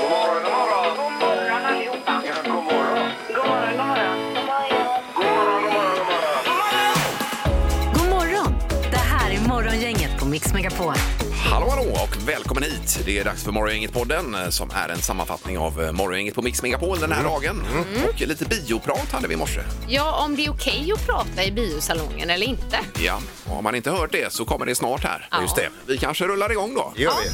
God morgon, god morgon. God morgon allihopa. Ja, god morgon. God morgon, god morgon. God morgon, god morgon, god morgon. God morgon! Det här är Morgongänget på Mix Megapol. Hallå, hallå och välkommen hit. Det är dags för Morgongänget-podden eh, som är en sammanfattning av eh, Morgongänget på Mix Megapol den här Mm. dagen. Mm. Och lite bioprat hade vi i morse. Ja, om det är okej att prata i biosalongen eller inte. Ja, och om man inte hört det så kommer det snart här. Ja. Just det. Vi kanske rullar igång då. gör vi.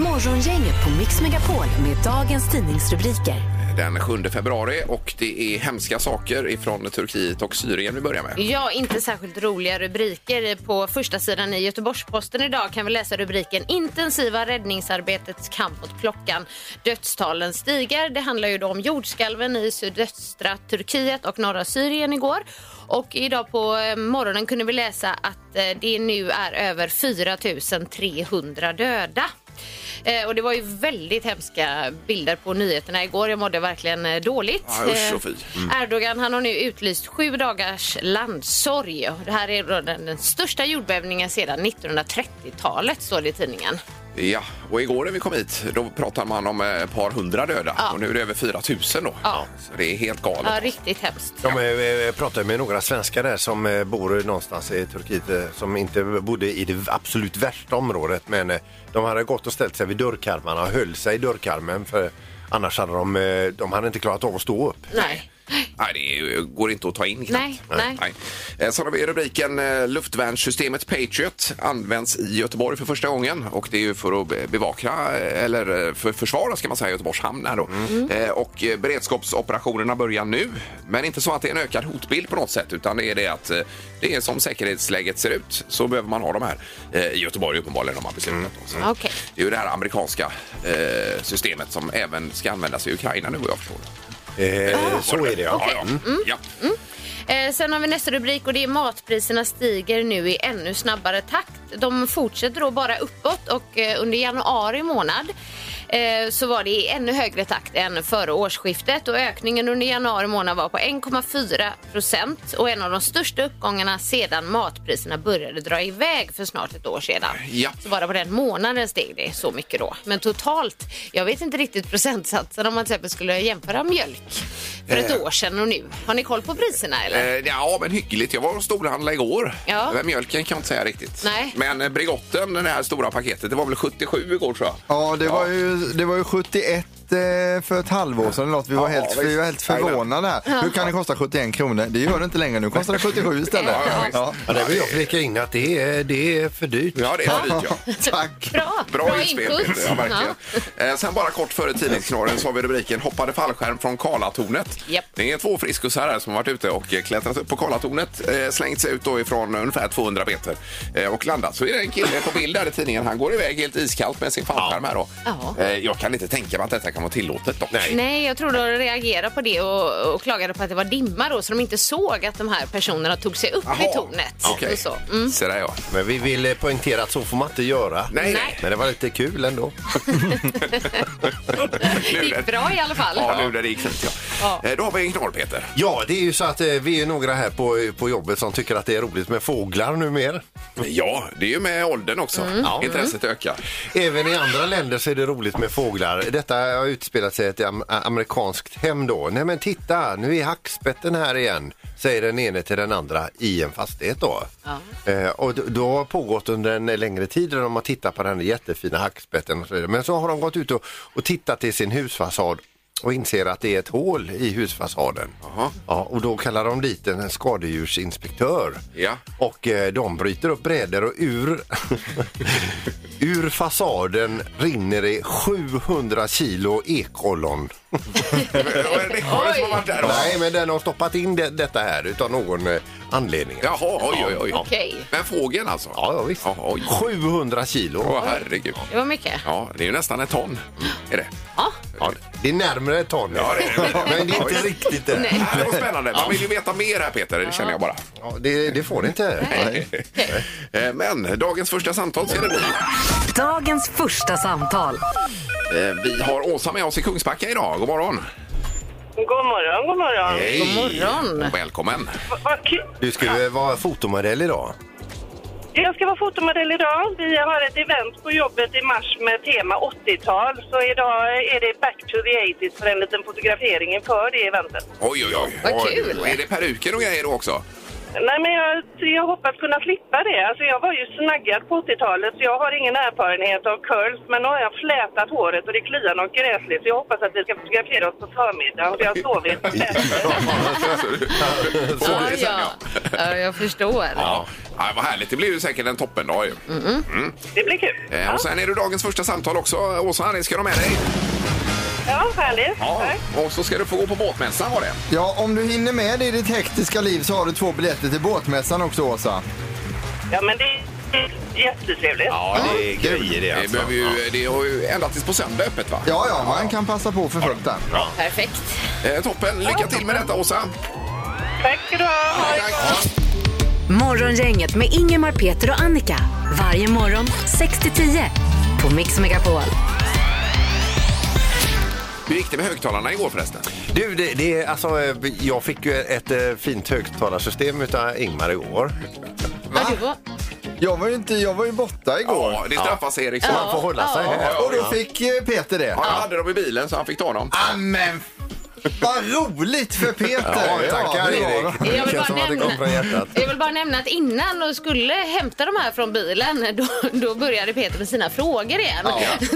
Morgongänget på Mix Megapol med dagens tidningsrubriker. Eh, Den 7 februari och det är hemska saker ifrån Turkiet och Syrien vi börjar med. Ja, inte särskilt roliga rubriker. På första sidan i Göteborgs-Posten idag kan vi läsa rubriken Intensiva räddningsarbetets kamp mot klockan. Dödstalen stiger. Det handlar ju då om jordskalven i sydöstra Turkiet och norra Syrien igår. Och idag på eh, morgonen kunde vi läsa att eh, det nu är över 4 300 döda. Eh, Och det var ju väldigt hemska bilder på nyheterna igår. Jag mådde verkligen eh, dåligt. Ja, usch Mm. och fy. Eh, Erdogan han har nu utlyst sju dagars landsorg. Det här är då den, den största jordbävningen sedan 1930-talet, står det i tidningen. Ja, och igår när vi kom hit då pratade man om eh, ett par hundra döda och nu är det över 4 000 då. Ja. Så det är helt galet. Ja, riktigt hemskt. De eh, pratade med några svenskar där som eh, bor någonstans i Turkiet eh, som inte bodde i det absolut värsta området men eh, de hade gått och ställt sig vid dörrkarmarna och höll sig i dörrkarmen för annars hade de, eh, de hade inte klarat av att stå upp. Nej. Nej, det är ju- går inte att ta in Nej, nej. Eh, Sen har vi rubriken eh, Luftvärnssystemet Patriot används i Göteborg för första gången och det är ju för att be- bevaka eh, eller eh, för försvara ska man säga Göteborgs hamn här då. Mm. Eh, Och eh, beredskapsoperationerna börjar nu, men inte så att det är en ökad hotbild på något sätt utan det är det att eh, det är som säkerhetsläget ser ut så behöver man ha de här eh, i Göteborg uppenbarligen om man beslutat. då. Så Mm. Okej. Det är ju det här amerikanska eh, systemet som även ska användas i Ukraina nu vad jag förstår. Ah. Eh, så är det ja. Ja, ja. Mm. ja. Eh, sen har vi nästa rubrik och det är matpriserna stiger nu i ännu snabbare takt. De fortsätter då bara uppåt och eh, under januari månad eh, så var det i ännu högre takt än före årsskiftet och ökningen under januari månad var på 1,4 procent och en av de största uppgångarna sedan matpriserna började dra iväg för snart ett år sedan. Ja. Så bara på den månaden steg det så mycket då. Men totalt, jag vet inte riktigt procentsatsen om man till exempel skulle jämföra mjölk för ett år sedan och nu. Har ni koll på priserna eller? Eh, ja, men hyggligt. Jag var och storhandlade igår. Ja. Men Mjölken kan jag inte säga riktigt. Nej. Men eh, Brigotten, det här stora paketet, det var väl 77 igår tror jag. Ja, det, Var ju, det var ju 71 eh, för ett halvår sedan eller något. Vi var, Ja, helt, vi visst. var helt förvånade här. Hur kan det kosta 71 kronor? Det gör det inte längre nu. Kostar det 77 istället? Ja, ja, visst. Ja, där vill jag flika in att det är, det är för dyrt. Ja, det är för dyrt, ja. Tack. Bra, Bra, utspel, Peter. Ja, verkligen. Eh, sen bara kort före tidningsknorren så har vi rubriken Hoppade fallskärm från Karlatornet. Japp. Det är två friskusar här som har varit ute och eh, klättrat upp på Karlatornet, eh, slängt sig ut då ifrån ungefär 200 meter eh, och landat. Så är det en kille på bild där i tidningen, han går iväg helt iskallt med sin fallskärm här då. Ja. Eh, jag kan inte tänka mig att detta kan vara tillåtet dock. Nej, jag tror de reagerade på det och, och klagade på att det var dimma då så de inte såg att de här personerna tog sig upp i tornet. Okej, Och så. Mm. så där ja. Men vi vill eh, poängtera att så får man inte göra. Nej, Nej. Men det var lite kul ändå. Det gick bra i alla fall. Ja, nu när det gick fint, ja. Ja. Eh, Då har vi en knorr, Peter. Ja, det är ju så att eh, vi är ju några här på, på jobbet som tycker att det är roligt med fåglar numera. Ja, det är ju med åldern också. Mm. Intresset ökar. Även i andra länder så är det roligt med fåglar. Detta har utspelat sig i ett am- amerikanskt hem då. Nej men titta, nu är hackspetten här igen, säger den ene till den andra i en fastighet då. Eh, och d- då har pågått under en längre tid där de har tittat på den här jättefina hackspetten och så vidare. Men så har de gått ut och, och tittat i sin husfasad och inser att det är ett hål i husfasaden. Ja, och då kallar de dit en skadedjursinspektör. Ja. Och eh, de bryter upp brädor och ur, ur fasaden rinner det 700 kilo ekollon. Det har det som har varit där då. Nej, men den har stoppat in det, detta här utan någon eh, anledning. Jaha, oj, oj, oj. Okej. Men fågeln alltså? Ja, ja visst. Jaha, oj. 700 kilo. Åh, herregud. Det var mycket. Ja, det är ju nästan ett ton. Är det? Ja, Ja, det är närmare ett ton. Ja, det är det. Men det är inte riktigt det. Nej. Ja, det var spännande. Man vill ju veta mer här Peter, det känner jag bara. Ja, det, det får det inte. Eh, Men dagens första samtal ska det bli. Dagens första samtal. Eh, Vi har Åsa med oss i Kungsbacka idag. God morgon! God morgon, god morgon. Hej! God morgon. Och välkommen! Va- Vad kul. Du skulle vara fotomodell idag. Jag ska vara fotomodell idag. Vi har ett event på jobbet i mars med tema 80-tal. Så idag är det Back to the 80s för en liten fotografering inför det eventet. Oj, oj, oj! Vad Oj. kul. Och Är det peruker och grejer då också? Nej, men jag, jag hoppas kunna slippa det. Alltså, jag var ju snaggad på 80-talet så jag har ingen erfarenhet av curls. Men nu har jag flätat håret och det kliar något gräsligt. Så jag hoppas att vi ska fotografera oss på förmiddagen för jag har sovit. Ja, ja. ja, jag förstår. Ja. ja, vad härligt. Det blir ju säkert en toppendag ju. Det blir kul. Eh, Ja, Och sen är det dagens första samtal också. Åsa, det ska du med dig. ja härligt. Tack. Och så ska du få gå på båtmässan var det. Ja, om du hinner med det i ditt hektiska liv så har du två biljetter till båtmässan också Åsa. Ja, men det är jättetrevligt. Ja, det är grejer det alltså. Det, behöver ju, det har ju ända tills på söndag öppet va? Ja, ja, man kan passa på för fullt där. Perfekt. Eh, Toppen! Lycka till med detta Åsa! Tack ska du ha. Ha det Tack. gott. Morgongänget med Ingemar, Peter och Annika. Varje morgon 6 till 10 på Mix Megapol. Hur gick det med högtalarna igår förresten? Du, det, det, är- alltså, eh, jag fick ju ett eh, fint högtalarsystem utav Ingmar igår. Ja, du var... Jag var ju, inte, jag var ju borta igår. Ja, det straffas Erik. så Man får hålla sig här. Och då fick eh, Peter det. Han hade dem i bilen så han fick ta dem. Ah, men vad roligt för Peter! Ja, tackar det var det. Erik. Jag Det vill känns bara som att det nämna- kom från hjärtat. Jag vill bara nämna att innan de skulle hämta de här från bilen, då, då började Peter med sina frågor igen.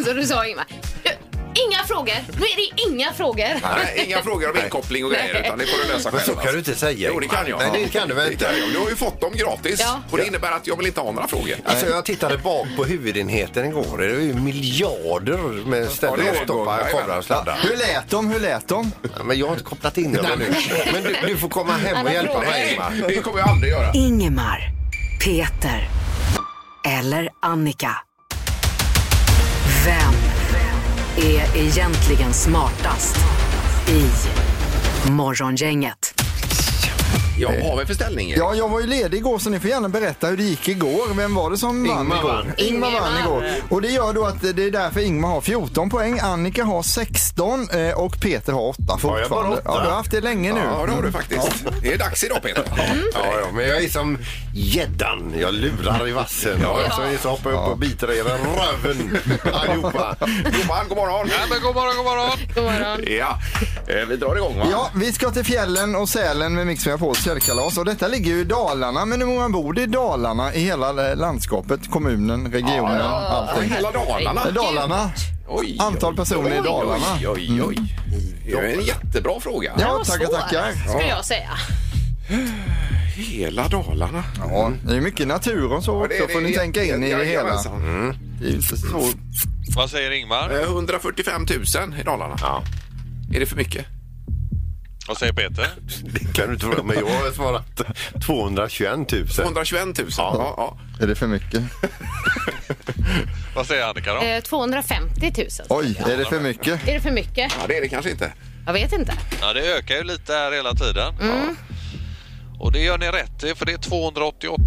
Så du sa Ingmar, du, inga frågor, nu är det inga frågor. Nej, inga frågor om inkoppling och grejer, Nej. utan det får du lösa själv. Ah. Men så kan alltså. du inte säga. Jo, det Ingmar. kan jag. Nej, det kan du väl inte. jag. Du har ju fått dem gratis Ja. och det innebär att jag vill inte ha några frågor. Alltså, jag tittade bak på huvudenheten igår. Det är ju miljarder med Ja, det är ställen det. att stoppa Jajamän. kablar och sladdar. Hur lät de? Hur lät de? Ja, Men jag har inte kopplat in det nu. Men du, du får komma hem och hjälpa mig, Nej, Ingmar. det kommer jag aldrig göra. Ingemar, Peter eller Annika. Vem är egentligen smartast i Morgongänget? Jag har väl för ställning? Erik? Ja, jag var ju ledig igår så ni får gärna berätta hur det gick igår. Vem var det som vann Ingmar igår? vann. Ingmar vann igår. Och det gör då att det är därför Ingmar har 14 poäng, Annika har 16 eh, och Peter har 8 bara fortfarande. åtta? Ja, du har haft det länge nu. Ja, det har du faktiskt. Det är dags idag, Peter. Ja, ja, men jag är som gäddan. Jag lurar i vassen. Ja, ja. Så, jag så hoppar jag upp och biter er i röven allihopa. Domaren, god morgon! Ja, men god morgon, god morgon! God morgon. Ja, eh, vi drar igång va? Ja, vi ska till fjällen och Sälen med Mix Megapols fjällkalas och detta ligger ju i Dalarna. Men hur många bor det i Dalarna i hela eh, landskapet, kommunen, regionen, Och allting? Hela Dalarna. Eh, Dalarna. Oj, Antal personer i Dalarna. Oj, oj, oj. Det är en jättebra fråga. Ja, var tackar, svår, tackar. Skulle jag säga. Hela Dalarna. Ja, det är mycket natur och så Ja, det är också det får ni jätte- tänka in i det hela. Mm. Jajamensan. alltså. Det är ju inte så Vad säger Ingmar? Eh, 145 000 i Dalarna. Ja. Är det för mycket? Vad säger Peter? Det kan du inte fråga, men jag har svarat 221 000. 121 000? Ja. ja. Är det för mycket? Vad säger Annika då? Eh, 250 000. Oj, är det för mycket? Är det för mycket? ja, det är det kanske inte. Jag vet inte. Ja, det ökar ju lite här hela tiden. Mm. Och det gör ni rätt i, för det är 288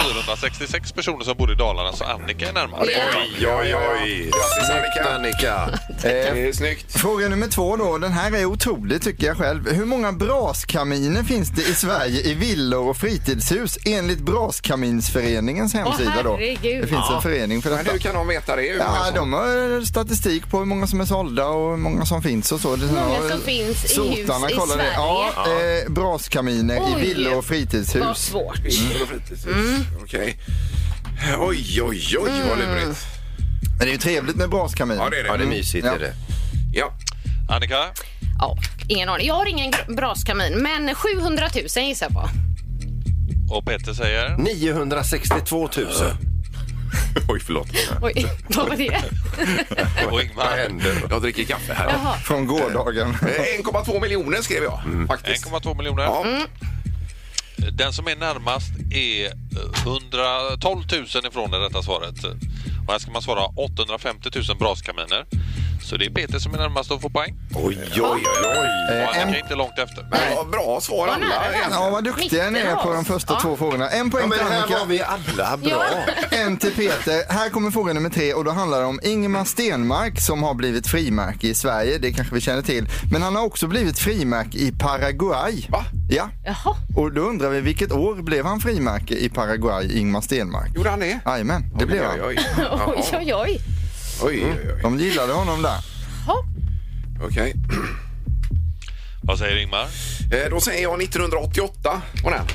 466 personer som bor i Dalarna, så Annika är närmast. Oj, oj, oj. Grattis Annika! Annika. Det är snyggt. Fråga nummer två då. Den här är otrolig tycker jag själv. Hur många braskaminer finns det i Sverige i villor och fritidshus enligt Braskaminsföreningens hemsida då? herregud. Det finns en förening för Men detta. hur kan de veta det? Hur många Ja, som- de har eh, statistik på hur många som är sålda och hur många som finns och så. Hur många som finns i hus i kollar det. Ja, eh, braskaminer Oj. i villor och Vad fritidshus. svårt. Villor och fritidshus. Mm. Okej. Oj, oj, oj vad lurigt. Men det är ju trevligt med braskaminer. Ja, det är det. Ja, det Mm. är mysigt. Är det. Ja. Annika? Ja, ingen aning. Jag har ingen gr- braskamin, men 700 000 gissar jag på. Och Peter säger? 962 000. Oj, förlåt. Oj, vad var det? Och Vad Ingmar? händer? Jag dricker kaffe här. Jaha. Från gårdagen. Eh, 1,2 miljoner skrev jag Mm. faktiskt. 1,2 miljoner. Ja. Mm. Den som är närmast är eh, 112 000 ifrån det rätta svaret. Och här ska man svara 850 000 braskaminer. Så det är Peter som är närmast att få poäng. Oj, oj, oj. Och Eh, han en- är inte långt efter. Bra svar Vad nära alla. det egentligen. Ja, vad duktiga ni är på de första två frågorna. En poäng Ja, men till här Annika, var vi alla bra. Ja. en till Peter. Här kommer fråga nummer tre och då handlar det om Ingemar Stenmark som har blivit frimärke i Sverige. Det kanske vi känner till. Men han har också blivit frimärke i Paraguay. Va? Ja. Jaha. Och då undrar vi vilket år blev han frimärke i Paraguay, Ingmar Stenmark? Gjorde han det? Jajamän, det blev Oj, han. oj, oj. Jaha. Oj, oj, oj. Oj, oj, oj. De gillade honom där. Jaha. Okej. Vad säger Ingmar? Eh, Då säger jag 1988 på den.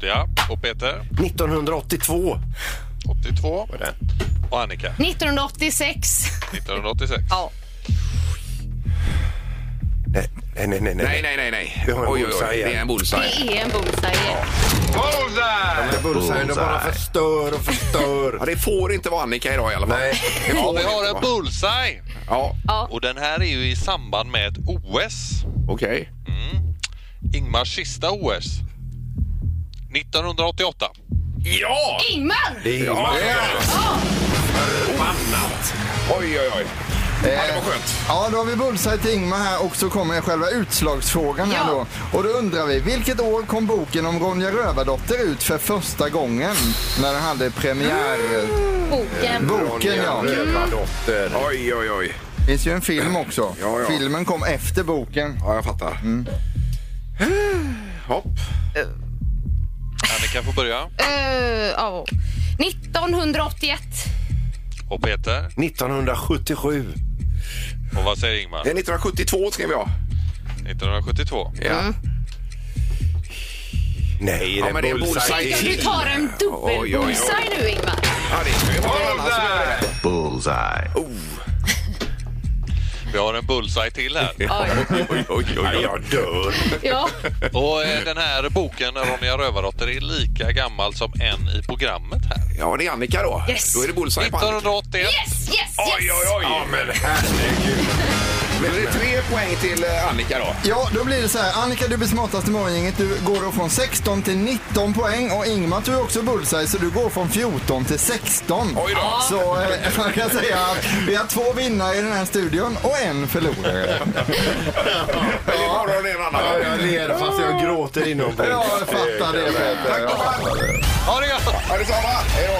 Ja. Och Peter? 1982. 82. Och Annika? 1986. 1986. Ja. Nej, nej, nej. nej, Nej, nej, nej, nej. Vi har en bullseye Det är igen. en Det bullseye. är en bullseye. Men Bullseye, de bara Bullseye. förstör och Ja, förstör. det får inte vara Annika idag i alla fall. Nej. Det Ja, får vi inte har en vara. bullseye! Ja, Ja. Och den här är ju i samband med ett OS. okej. Ingmars sista OS. 1988. Ja! Ingmar! Det är Ingmar. Förbannat! Oj, oj, oj. Ja, det var skönt. Ja, då har vi bullseye till Ingmar här och så kommer själva utslagsfrågan här Ja. då. Och då undrar vi, vilket år kom boken om Ronja Rövardotter ut för första gången? När den hade premiär... Mm. Boken. Boken ja. Ronja Mm. Rövardotter. Oj, oj, oj. Det finns ju en film också. Ja, ja. Filmen kom efter boken. Ja, jag fattar. Hopp. Annika får börja. Eh, ja. 1981. Och Peter. 1977. Och vad säger Ingmar? Eh, 1972 skrev jag. 1972. Ja. Nej, Ja, det men det är är bullseye bullseye. Ja, du tar en Oj, oj, oj. dubbel-bullseye nu, Ingmar. Ja, det är ju alla som gör det. Bullseye. Oh. Vi har en bullseye till här. Oj, oj, oj, Nej, oj. jag dör. Ja. Och eh, den här boken, Ronja Rövardotter, är lika gammal som en i programmet här. Ja, det är Annika då. Yes. Då är det bullseye på Annika. 1981. Yes, yes, Oj, oj, yes! oj. Ja, men herregud. Men det är tre poäng till eh, Annika då. Ja, då blir det så här. Annika, du blir smartast i morgongänget. Du går då från 16 till 19 poäng och Ingmar tog också bullseye så du går från 14 till 16. Oj då. Så eh, man kan säga att vi har två vinnare i den här studion och en förlorare. Men det är bara en annan. Ja, jag ler fast jag gråter inombords. Ja, jag fattar det Peter. Jag fattar det. Ha det gott! Ja, detsamma. Hej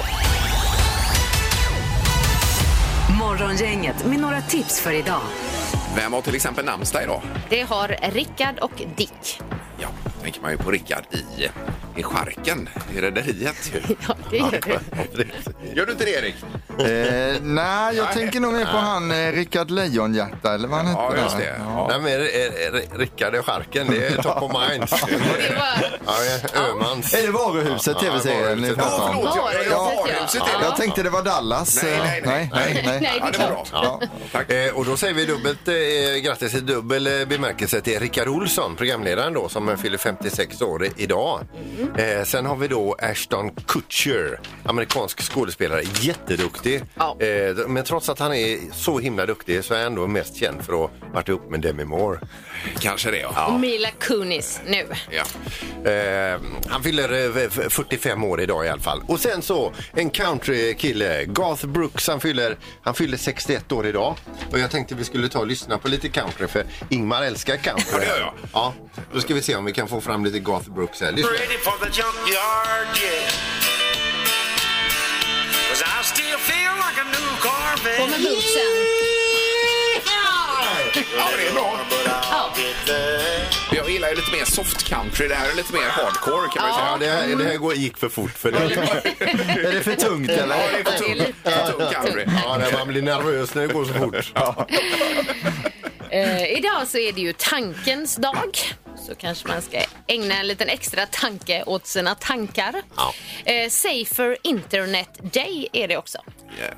då. Morgongänget med några tips för idag. Vem har till exempel namnsdag idag? Det har Rickard och Dick. Ja, då tänker man ju på Rickard i, i Charken, i Rederiet. Ja, det gör det. Gör du inte det, Erik? Eh, nej, jag tänker nog mer på han eh, Rickard Lejonhjärta eller vad han hette. Ja, just där. det. Ja. Nej, men eh, eh, Rickard och charken, det är top of mind. Det var... Ja, Ömans. Är det Varuhuset, Ja, tv-serien ni Varuhuset. pratar om? Förlåt, jag, jag, jag, Ja. varuhuset är det. Jag tänkte det var Dallas. Nej, eh, nej, nej. nej, nej. Nej, det Ja, är det var klart. bra. Ja. Eh, och då säger vi dubbelt eh, grattis i dubbel eh, bemärkelse till Rickard Olsson, programledaren då som eh, fyller 56 år i- idag. Mm. Eh, sen har vi då Ashton Kutcher, amerikansk skådespelare, jätteduktig. Ja. Eh, men trots att han är så himla duktig så är han ändå mest känd för att ha varit ihop med Demi Moore. Kanske det, ja. Och Mila Kunis nu. ja. Eh, han fyller eh, f- 45 år idag i alla fall. Och sen så en countrykille, Garth Brooks, han fyller, han fyller 61 år idag. Och jag tänkte vi skulle ta och lyssna på lite country för Ingmar älskar country. Ja, det gör jag. Ja, då ska vi se om vi kan få fram lite Garth Brooks här. Lyssna. Ready for the junkyard, yeah. 'Cause I still feel like a new Corvette. Kommer bootsen. ja, men det är bra. Ja. Jag gillar ju lite mer soft country. Det här är lite mer hardcore, kan man ju Ja, säga. det här, det här går, gick för fort för dig. Är det för tungt eller? Ja, det är för Det är tung, lite- för tung country. Ja, när man blir nervös när det går så fort. Eh, idag så är det ju tankens dag. Så kanske man ska ägna en liten extra tanke åt sina tankar. Ja. Eh, Safer Internet Day är det också.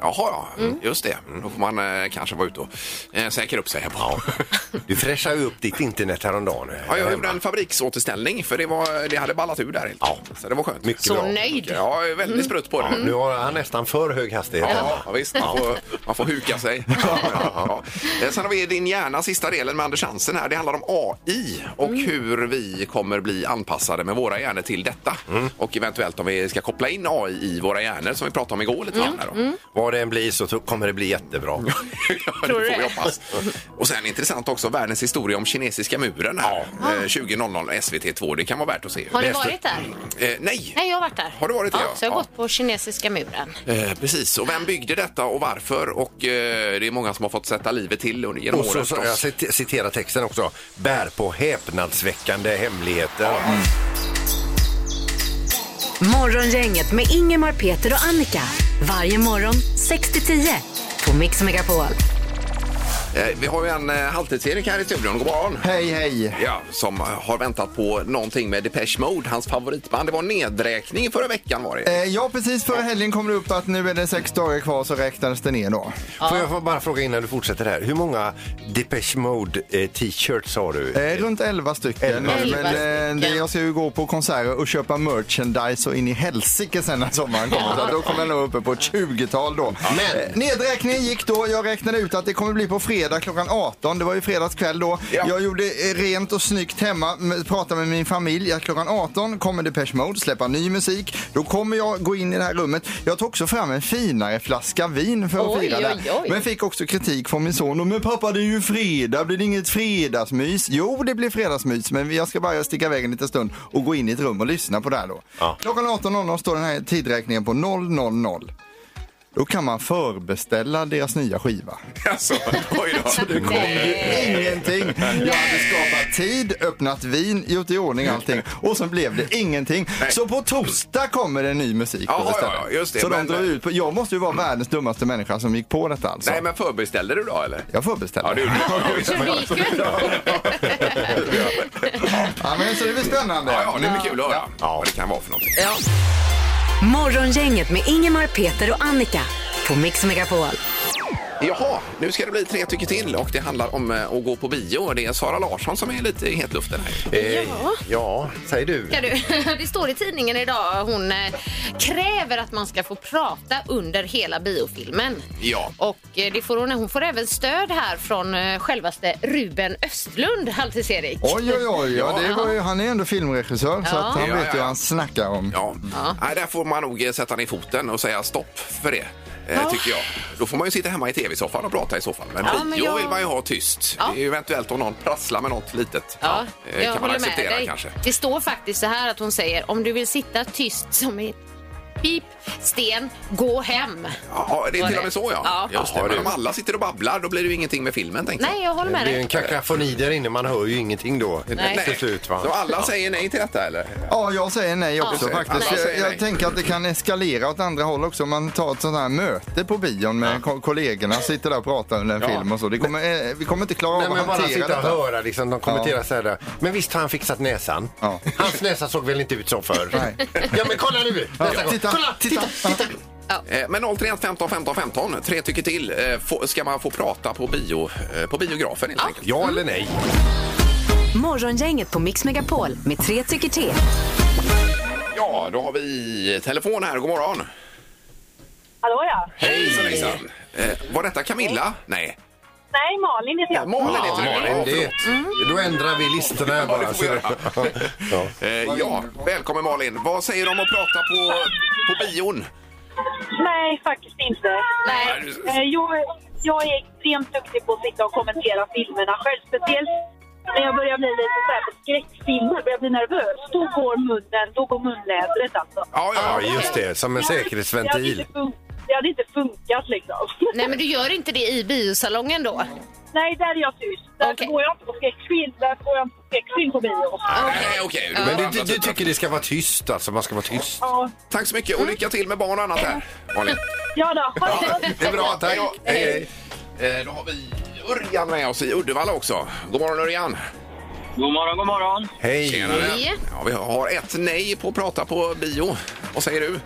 Jaha, ja. Just det. Då får man eh, kanske vara ute och eh, säkra upp sig. Ja. Du fräschar ju upp ditt internet häromdagen. Ja, jag hemma. gjorde en fabriksåterställning för det, var, det hade ballat ur där helt Ja. Så det var skönt. Mycket Så bra. nöjd. Mm. Ja, jag är väldigt sprutt på det. Ja, nu har han nästan för hög hastighet. Ja, visst. Man får, man får huka sig. Mm. Ja. Eh, Sen har vi Din hjärna, sista delen med Anders Hansen här. Det handlar om AI och hur hur vi kommer bli anpassade med våra hjärnor till detta. Mm. Och eventuellt om vi ska koppla in AI i våra hjärnor som vi pratade om igår lite Mm. grann. här då. Vad det än blir så to- kommer det bli jättebra. Ja, det får vi hoppas. Och sen intressant också, världens historia om kinesiska muren här. Eh, 20.00 SVT2, det kan vara värt att se. Ah. Har du Läste- varit där? Eh, nej. Nej, jag har varit där. Har du varit där, Ja, ja? så jag har Ja. gått på kinesiska muren. Eh, precis, och vem byggde detta och varför? Och eh, det är många som har fått sätta livet till under- genom Och så, åren så, förstås. jag cit- citerar texten också. Bär på häpnadsväckande hemligheter. Mm. Morgongänget med Ingemar, Peter och Annika. Varje morgon 6-10 på Mix Megapol. Eh, Vi har ju en eh, halvtids-Erik här i studion. God morgon! Hej, hej! Ja, som eh, har väntat på någonting med Depeche Mode, hans favoritband. Det var nedräkning förra veckan var det. Eh, Ja, precis förra helgen kom det upp att nu är det sex dagar kvar så räknades det ner då. Får jag få bara fråga innan du fortsätter här. Hur många Depeche Mode eh, t-shirts har du? Eh, Runt 11 stycken. Elva Men, stycken. eh, det, jag ska ju gå på konserter och köpa merchandise och in i helsike sen när sommaren kommer. Så att då kommer jag nog uppe på ett 20-tal då. Men- Eh, Nedräkningen gick då. Jag räknade ut att det kommer bli på fredag klockan 18. Det var ju fredagskväll då. Ja. Jag gjorde eh, rent och snyggt hemma. m- Pratade med min familj att klockan 18 kommer Depeche Mode släppa ny musik. Då kommer jag gå in i det här rummet. Jag tog också fram en finare flaska vin för att Oj, fira det här. oj, oj. Men fick också kritik från min son. Men pappa det är ju fredag, blir det inget fredagsmys? Jo det blir fredagsmys men jag ska bara sticka iväg en liten stund och gå in i ett rum och lyssna på det här då. Ja. Klockan 18.00 står den här tidräkningen på 000. Då kan man förbeställa deras nya skiva. Alltså, oj då. Eh. Ingenting! Jag hade skapat tid, öppnat vin, gjort i ordning allting och sen blev det ingenting. Så på torsdag kommer det ny musik Jaha, då ja, istället. ja, just det, Så men- de drar ut på, jag måste ju vara världens dummaste människa som gick på detta alltså. Nej, men förbeställde du då eller? Jag förbeställde. Ja, det gjorde Så det gick ju ändå. Ja, men så det blir spännande. Ja, ja, det blir kul att höra vad det kan vara för någonting. Ja. Morgongänget med Ingemar, Peter och Annika på Mix Megapol. Jaha, nu ska det bli tre tycker till och det handlar om eh, att gå på bio. Det är Sara Larsson som är lite i hetluften här. Eh, ja, säg du. Ska du? Det står i tidningen idag hon eh, kräver att man ska få prata under hela biofilmen. Ja. Och eh, det får hon, hon får även stöd här från eh, självaste Ruben Östlund, Halvtids-Erik. Oj, oj, oj. Ja, det var ju, han är ändå filmregissör så att han Ja, ja, vet ju ja. vad han snackar om. Ja. Nej, där får man nog eh, sätta ner foten och säga stopp för det. eh, Tycker jag. Då får man ju sitta hemma i tv-soffan och prata i soffan. Men Ja, bio men jag- vill man ju ha tyst. Ja. Det är ju eventuellt om någon prasslar med något litet. Ja, Eh, jag kan man håller med acceptera dig. kanske. Det står faktiskt så här att hon säger om du vill sitta tyst som en pip, sten, gå hem. Ja, det är Var till och det? med så ja. Ja. Just det. Ja, Men det- om alla sitter och babblar då blir det ju ingenting med filmen. Tänkte jag. Nej, jag håller Det med blir ju dig. en kakafoni där inne. Man hör ju ingenting då. Nej. Till slut, va? Så alla säger nej till detta eller? Ja, jag säger nej också Ja. faktiskt. Alla säger jag jag nej. tänker att det kan eskalera åt andra håll också. Om man tar ett sånt här möte på bion med ko- kollegorna, sitter där och pratar under en Ja. film och så. Det kommer, eh, vi kommer inte klara Nej, av att men bara hantera sitta och detta. höra liksom, de kommenterar så här. Men visst har han fixat näsan? Ja. Hans näsa såg väl inte ut som förr? Nej. Ja men kolla nu! Nästa gång. Titta, Kolla! titta, titta. Eh, Men 031 15 15 15, tre tycker till. Eh, få- Ska man få prata på, bio, eh, på biografen helt enkelt? Ah. Ja eller nej? Morgongänget på Mix Megapol med tre tycker till. Ja, då har vi telefon här. God morgon! Hallå ja. Hejsan hejsan! Eh, var detta Camilla? Nej. Nej, Malin heter jag. Malin Ja, heter Malin, Ja, det, förlåt. då ändrar vi listorna här typ Mm. Ja, det bara. får vi göra. Ja. Eh, ja, välkommen Malin. Vad säger du om att prata på, på bion? Nej, faktiskt inte. Nej. Eh, Jag, jag är extremt duktig på typ att sitta och kommentera filmerna själv. Speciellt när jag börjar bli lite så här på skräckfilmer, börjar bli nervös. Då går munnen, då går munlädret alltså. Ja, Ja, just det. Som en Jag hade- jag hade säkerhetsventil. inte fun- Det hade inte funkat liksom. Nej, men du gör inte det i biosalongen då? Nej, där är jag tyst. Där Okej. går jag inte på skräckfilm. Där går jag inte på skräckfilm på bio. Nej, okej. Du Men menar du, andra du typer av- tycker det ska vara tyst alltså? Man ska vara tyst? Ja, Tack så mycket och lycka till med barn och annat här, Malin. ja då. Ha det gott. Det är bra, tack. då. Hej, hej. Eh, Då har vi Örjan med oss i Uddevalla också. God morgon Örjan! God morgon, god morgon. Hej! Hej. Ja, vi har ett nej på att prata på bio. Vad säger du?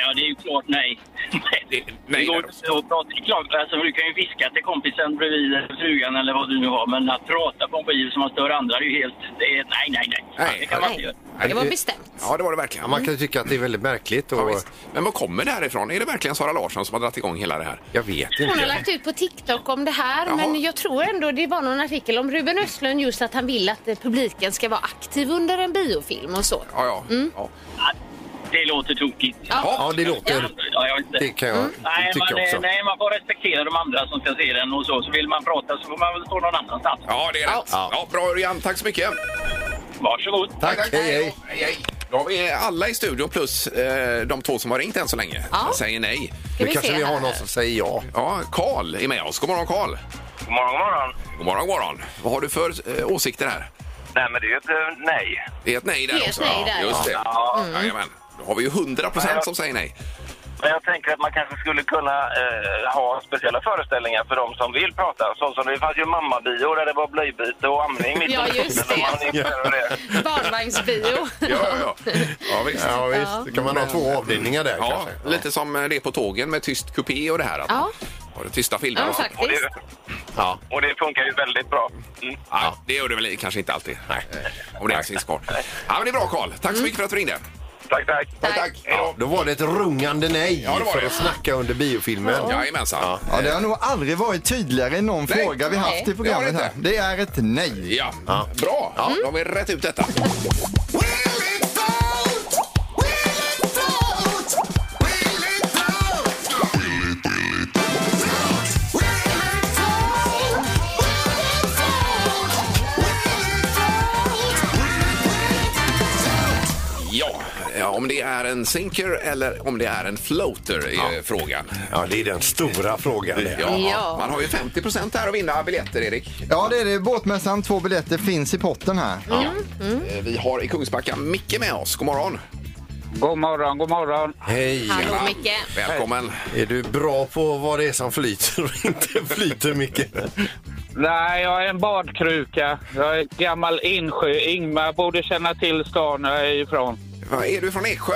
Ja, det är ju klart nej. Nej, det, det går inte att prata. det är klart, Alltså, du kan ju viska till kompisen bredvid eller frugan eller vad du nu har, men att prata på en skiv som man stör andra, det är ju helt... Det är, nej, nej, nej, Det kan man inte göra. Det var bestämt. Ja, det var det verkligen. Man kan ju tycka att det är väldigt märkligt. Och... Men var kommer det här ifrån? Är det verkligen Sara Larsson som har dragit igång hela det här? Jag vet Hon har lagt ut på TikTok om det här, men jag tror ändå det var någon artikel om Ruben Östlund just att han vill att eh, publiken ska vara aktiv under en biofilm och så. Ja, ja. ja. Det låter tokigt. Ja. Ja, det låter. Ja, jag vet inte. Det kan jag nej, tycka man, eh, också. Nej, man får respektera de andra som ska se den och så. Så vill man prata så får man väl stå någon annanstans. Ja, det är rätt. Ja. bra Örjan, tack så mycket. Varsågod. Tack, hej, hej. Då har vi alla i studion plus eh, de två som har ringt än så länge. Ja. Säger nej. Ska vi Nu kanske se vi har här. någon som säger ja. Ja, Karl är med oss. God morgon Karl. God morgon, god morgon. God morgon, god morgon. Vad har du för eh, åsikter här? Nej, men det är ju ett eh, nej. Det är ett nej där Det är ett också. nej där, ja, just det. ja. Mm. Jajamän. Då har vi ju 100 procent som säger nej. Men jag tänker att man kanske skulle kunna eh, ha speciella föreställningar för de som vill prata. Sånt som det fanns ju mammabio där det var blöjbyte och amning mitt Ja, under just tiden. Man är intresserad av det. Barnvagnsbio. ja, ja. Ja, visst. Ja, visst. Då kan man ha två avdelningar där, ja, kanske. Lite som eh, det är på tågen med tyst kupé och det här. Att Ja. har det tysta filmer Ja, och sånt. faktiskt. Och det- Ja. Och det funkar ju väldigt bra. Mm. Ja, det gör det väl kanske inte alltid. Nej. Mm. Om det ens finns kvar. Ja, men det är bra Karl. Tack så mycket för att du ringde. Tack, tack. tack, tack. Ja. Då var det ett rungande nej Ja, det var för det. att snacka under biofilmen. Ja. Jajamensan. Ja. Ja, det har nog aldrig varit tydligare i någon Nej. fråga vi haft Nej. i programmet här. Det är ett nej. Ja, bra. Mm. Ja. Då har vi rätt ut detta. Ja, eh, om det är en sinker eller om det är en floater är ju frågan. Ja, det är den stora frågan. det. Ja, Ja. Man har ju 50 procent här att vinna biljetter, Erik. Ja, det är det. Båtmässan, två biljetter finns i potten här. Ja. Eh, Vi har i Kungsbacka Micke med oss. God morgon. God morgon, god morgon. Hej! Hallå, Anna. Micke. Välkommen! Är du bra på vad det är som flyter och inte flyter, Micke? Nej, jag är en badkruka. Jag är gammal insjö. Ingmar borde känna till stan jag är ifrån. Var är du från Eksjö?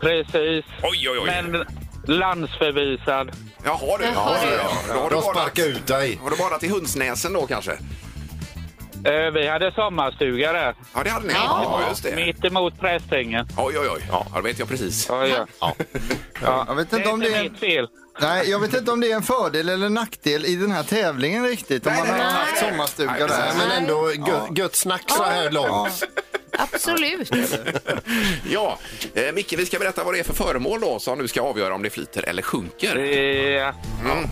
Precis. Oj, oj, oj. Men landsförvisad. Jaha du. Jaha, du. Då har du De sparkar ut dig. Har du badat i Hundsnäsen då kanske? Eh, Vi hade sommarstuga där. Ja, det hade ni. Ja, just det. Mitt emot Prästängen. Oj, oj, oj. Ja, det vet jag precis. Ja, ja. Jag vet inte om det är... mitt fel. Nej, jag vet inte om det är en fördel eller en nackdel i den här tävlingen riktigt. Om man har haft sommarstuga där. Men ändå gö- gött snack så här långt. Absolut. Ja, eh, Micke, vi ska berätta vad det är för föremål då som du ska avgöra om det flyter eller sjunker. Eh, Mm.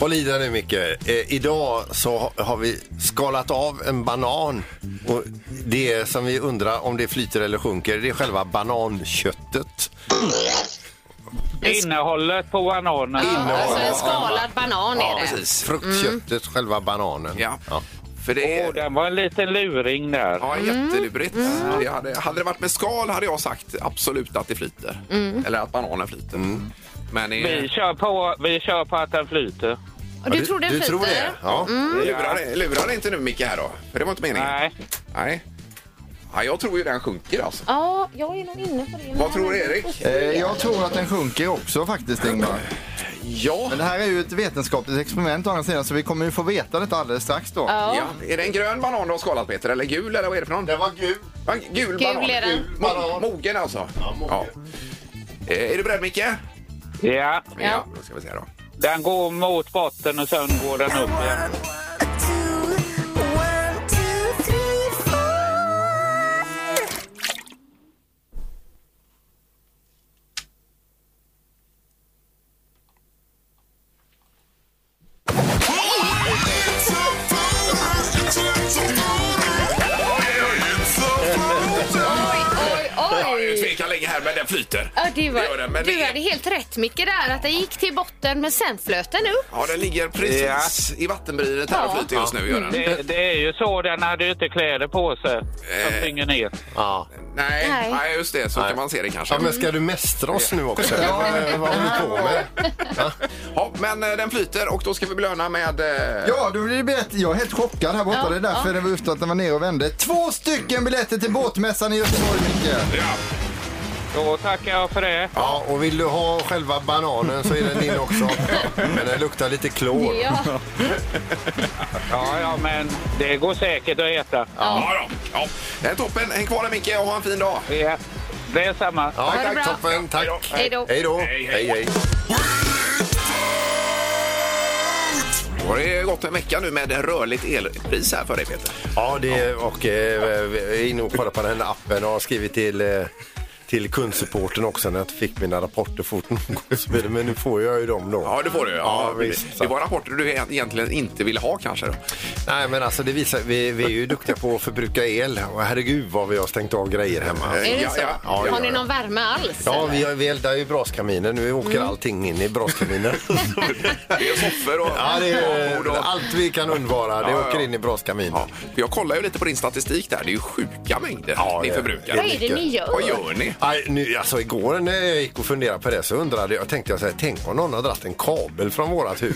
Håll i dig nu Micke. Eh, idag så ha- har vi skalat av en banan. Och det som vi undrar om det flyter eller sjunker det är själva bananköttet. Innehållet på bananen. Alltså en skalad banan är det. Fruktköttet, själva bananen. Ja. För Åh, den var en liten luring där. Ja, jättelurigt. Det hade, hade det varit med skal hade jag sagt absolut att det flyter. Mm. Eller att bananen flyter. Men eh, Vi kör, på, vi kör på att den flyter. Ja, du- tror den du tror flyter? det? Ja. Mm. Lurar- lurar inte nu Micke här då? För det var inte meningen. Nej. Nej. Ja, jag tror ju den sjunker alltså. Ja, jag är nog inne på det. Vad tror du, Erik? Eh, Jag tror att den sjunker också faktiskt, Ingmar. Ja. Men det här är ju ett vetenskapligt experiment å andra sidan så vi kommer ju få veta detta alldeles strax då. Ja. Är det en grön banan du har skalat Peter? Eller gul eller vad är det för någon? Den var gul. Va, gul, Gul banan. är den. Gul banan. Mogen alltså? Ja, mogen. Eh, Är du beredd Micke? Ja. Ja, då ska vi se då. Den går mot botten och sen går den upp igen. Ja, jag tvekar länge här men den flyter. Ja, det Det gör den, var, men du det- hade helt rätt Micke där, att den gick till botten men sen flöt den upp. Ja, den ligger precis i vattenbrynet här och flyter just nu. Gör den. Det, det är ju så, den hade ju inte kläder på sig. Den springer ner. Ja. Nej, nej. just det. Så kan man se det kanske. Ja, men ska du mästra oss nu också? Vad håller du på med? Ja, men eh, den flyter och då ska vi belöna med... eh, Ja, då blir det biljett. Jag är helt chockad här borta. Ja, det är därför ja. det var just att den var nere och vände. Två stycken biljetter till båtmässan i Göteborg, Micke. Ja. Då tackar jag för det. Ja, och vill du ha själva bananen så är den din också. Men den luktar lite klor. Ja. Ja, ja, men det går säkert att äta. Ja, ja. ja. Det är toppen. Häng kvar där Micke och ha en fin dag. Ja, det är samma. Ja, tack, toppen. Tack. Hej då. Hej då. Hej, Hej, hej. Då har det gått en vecka nu med en rörligt elpris här för dig Peter. Ja, det, och eh, vi är inne och kollar på den här appen och har skrivit till eh, till kundsupporten också när jag fick mina rapporter fort nog. Så blir det- Men nu får jag ju dem då. Ja, det får du. Ja, visst. det var rapporter du egentligen inte ville ha kanske. Då. Nej, men alltså det visar, vi, vi är ju duktiga på att förbruka el. Och herregud vad vi har stängt av grejer hemma. Är Eh, det så? Ja, ja, Har ni ja. någon värme alls? Ja, eller? vi, har- vi eldar ju braskaminer. Nu åker Mm. allting in i braskaminen. Det är soffor och ja, det är, bord och- allt vi kan undvara, det Ja, ja. åker in i braskaminen. Jag kollar ju lite på din statistik där. Det är ju sjuka mängder ni det- förbrukar. Vad är det ni gör? Vad gör ni? Nej, nu, alltså, igår när jag gick och funderade på det så undrade jag, tänkte jag så här, tänk om någon har dragit en kabel från vårat hus.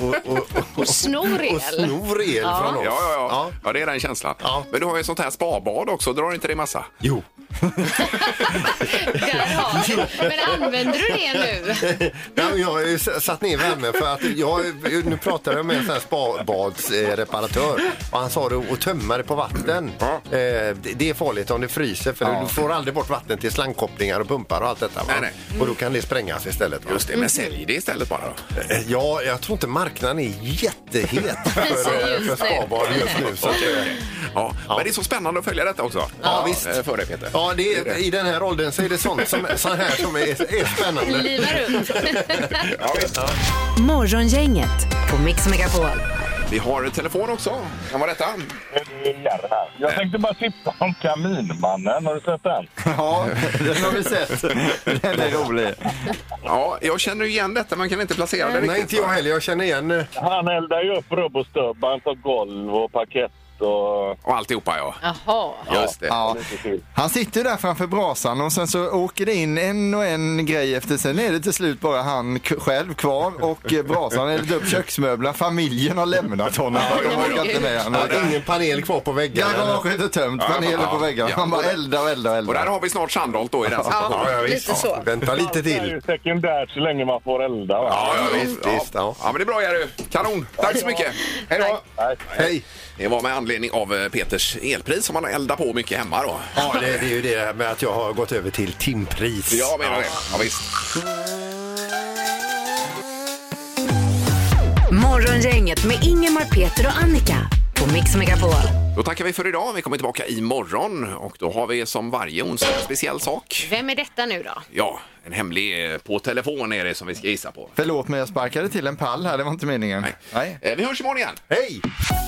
och, och, och, Och snor el. Och snor el Ja. från oss. Ja, ja, ja. ja. det är den känslan. Men du har ju ett sånt här spabad också. Drar inte det massa? Jo. Där har du. Men använder du det nu? Nej, men jag har ju s- satt ner värmen för att jag, nu pratade jag med en sån här spabadsreparatör och han sa det att tömma det på vatten. Eh, det- Det är farligt om det fryser för Ja. du får aldrig bort vatten till slangkopplingar och pumpar och allt detta. Va? Nej, nej. Och då kan det sprängas istället. Va? Just det, men sälj det istället bara då. Eh, Ja, jag tror inte marknaden är jättehet Precis, för, just för spabad nu. just nu. Så att, Okej, eh, okej. Ja, Men det är så spännande att följa detta också. Ja, visst. eh, För dig Peter. Ja, det Det är är, det. i den här åldern så är det sånt som, sånt här som är, är spännande. Livar upp. Ja, visst. Morgongänget på Mix Megapol. Vi har telefon också. Kan vara detta? Jag tänkte bara tipsa om Kaminmannen. Har du sett den? Ja, den har vi sett. Den är rolig. Ja, jag känner ju igen detta men kan inte placera det Nej, riktigt. inte jag heller. Jag känner igen... eh, Han eldar ju upp rubbostubban på golv och parkett och... Och alltihopa, ja. Jaha. Just det. Ja. Han sitter ju där framför brasan och sen så åker det in en och en grej efter. Sen är det till slut bara han k- själv kvar och eh, brasan har eldat upp köksmöbler. Familjen har lämnat honom. De orkar inte med Han har honom. ingen panel kvar på väggarna. Garaget är tömt, Ja, panelen ja, på väggarna. ja. Han bara eldar och eldar och Och där eldar. har vi snart Sandholt då i den situationen. Ja, ja, visst. Ja, Vänta lite Det är till. ju sekundärt så länge man får elda. Va? Ja, ja, visst, visst, ja. Ja, men det är bra Jerry. Kanon. Tack så mycket. Hej då. Hej. Det var med anledning av eh, Peters elpris som han eldar på mycket hemma då. Ja, det, det är ju det med att jag har gått över till timpris. Jag menar det. Ja, visst. Morgongänget med Ingemar, Peter och Annika på Mix Megapol. Då tackar vi för idag. Vi kommer tillbaka imorgon och då har vi som varje onsdag en speciell sak. Vem är detta nu då? Ja, en hemlig eh, på telefon är det som vi ska gissa på. Förlåt mig, jag sparkade till en pall här. Det var inte meningen. Nej. Eh, Vi hörs imorgon igen. Hej!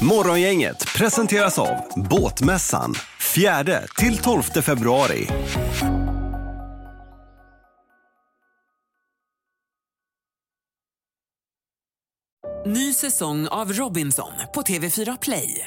Morgongänget presenteras av Båtmässan 4 till 12 februari. Ny säsong av Robinson på TV4 Play.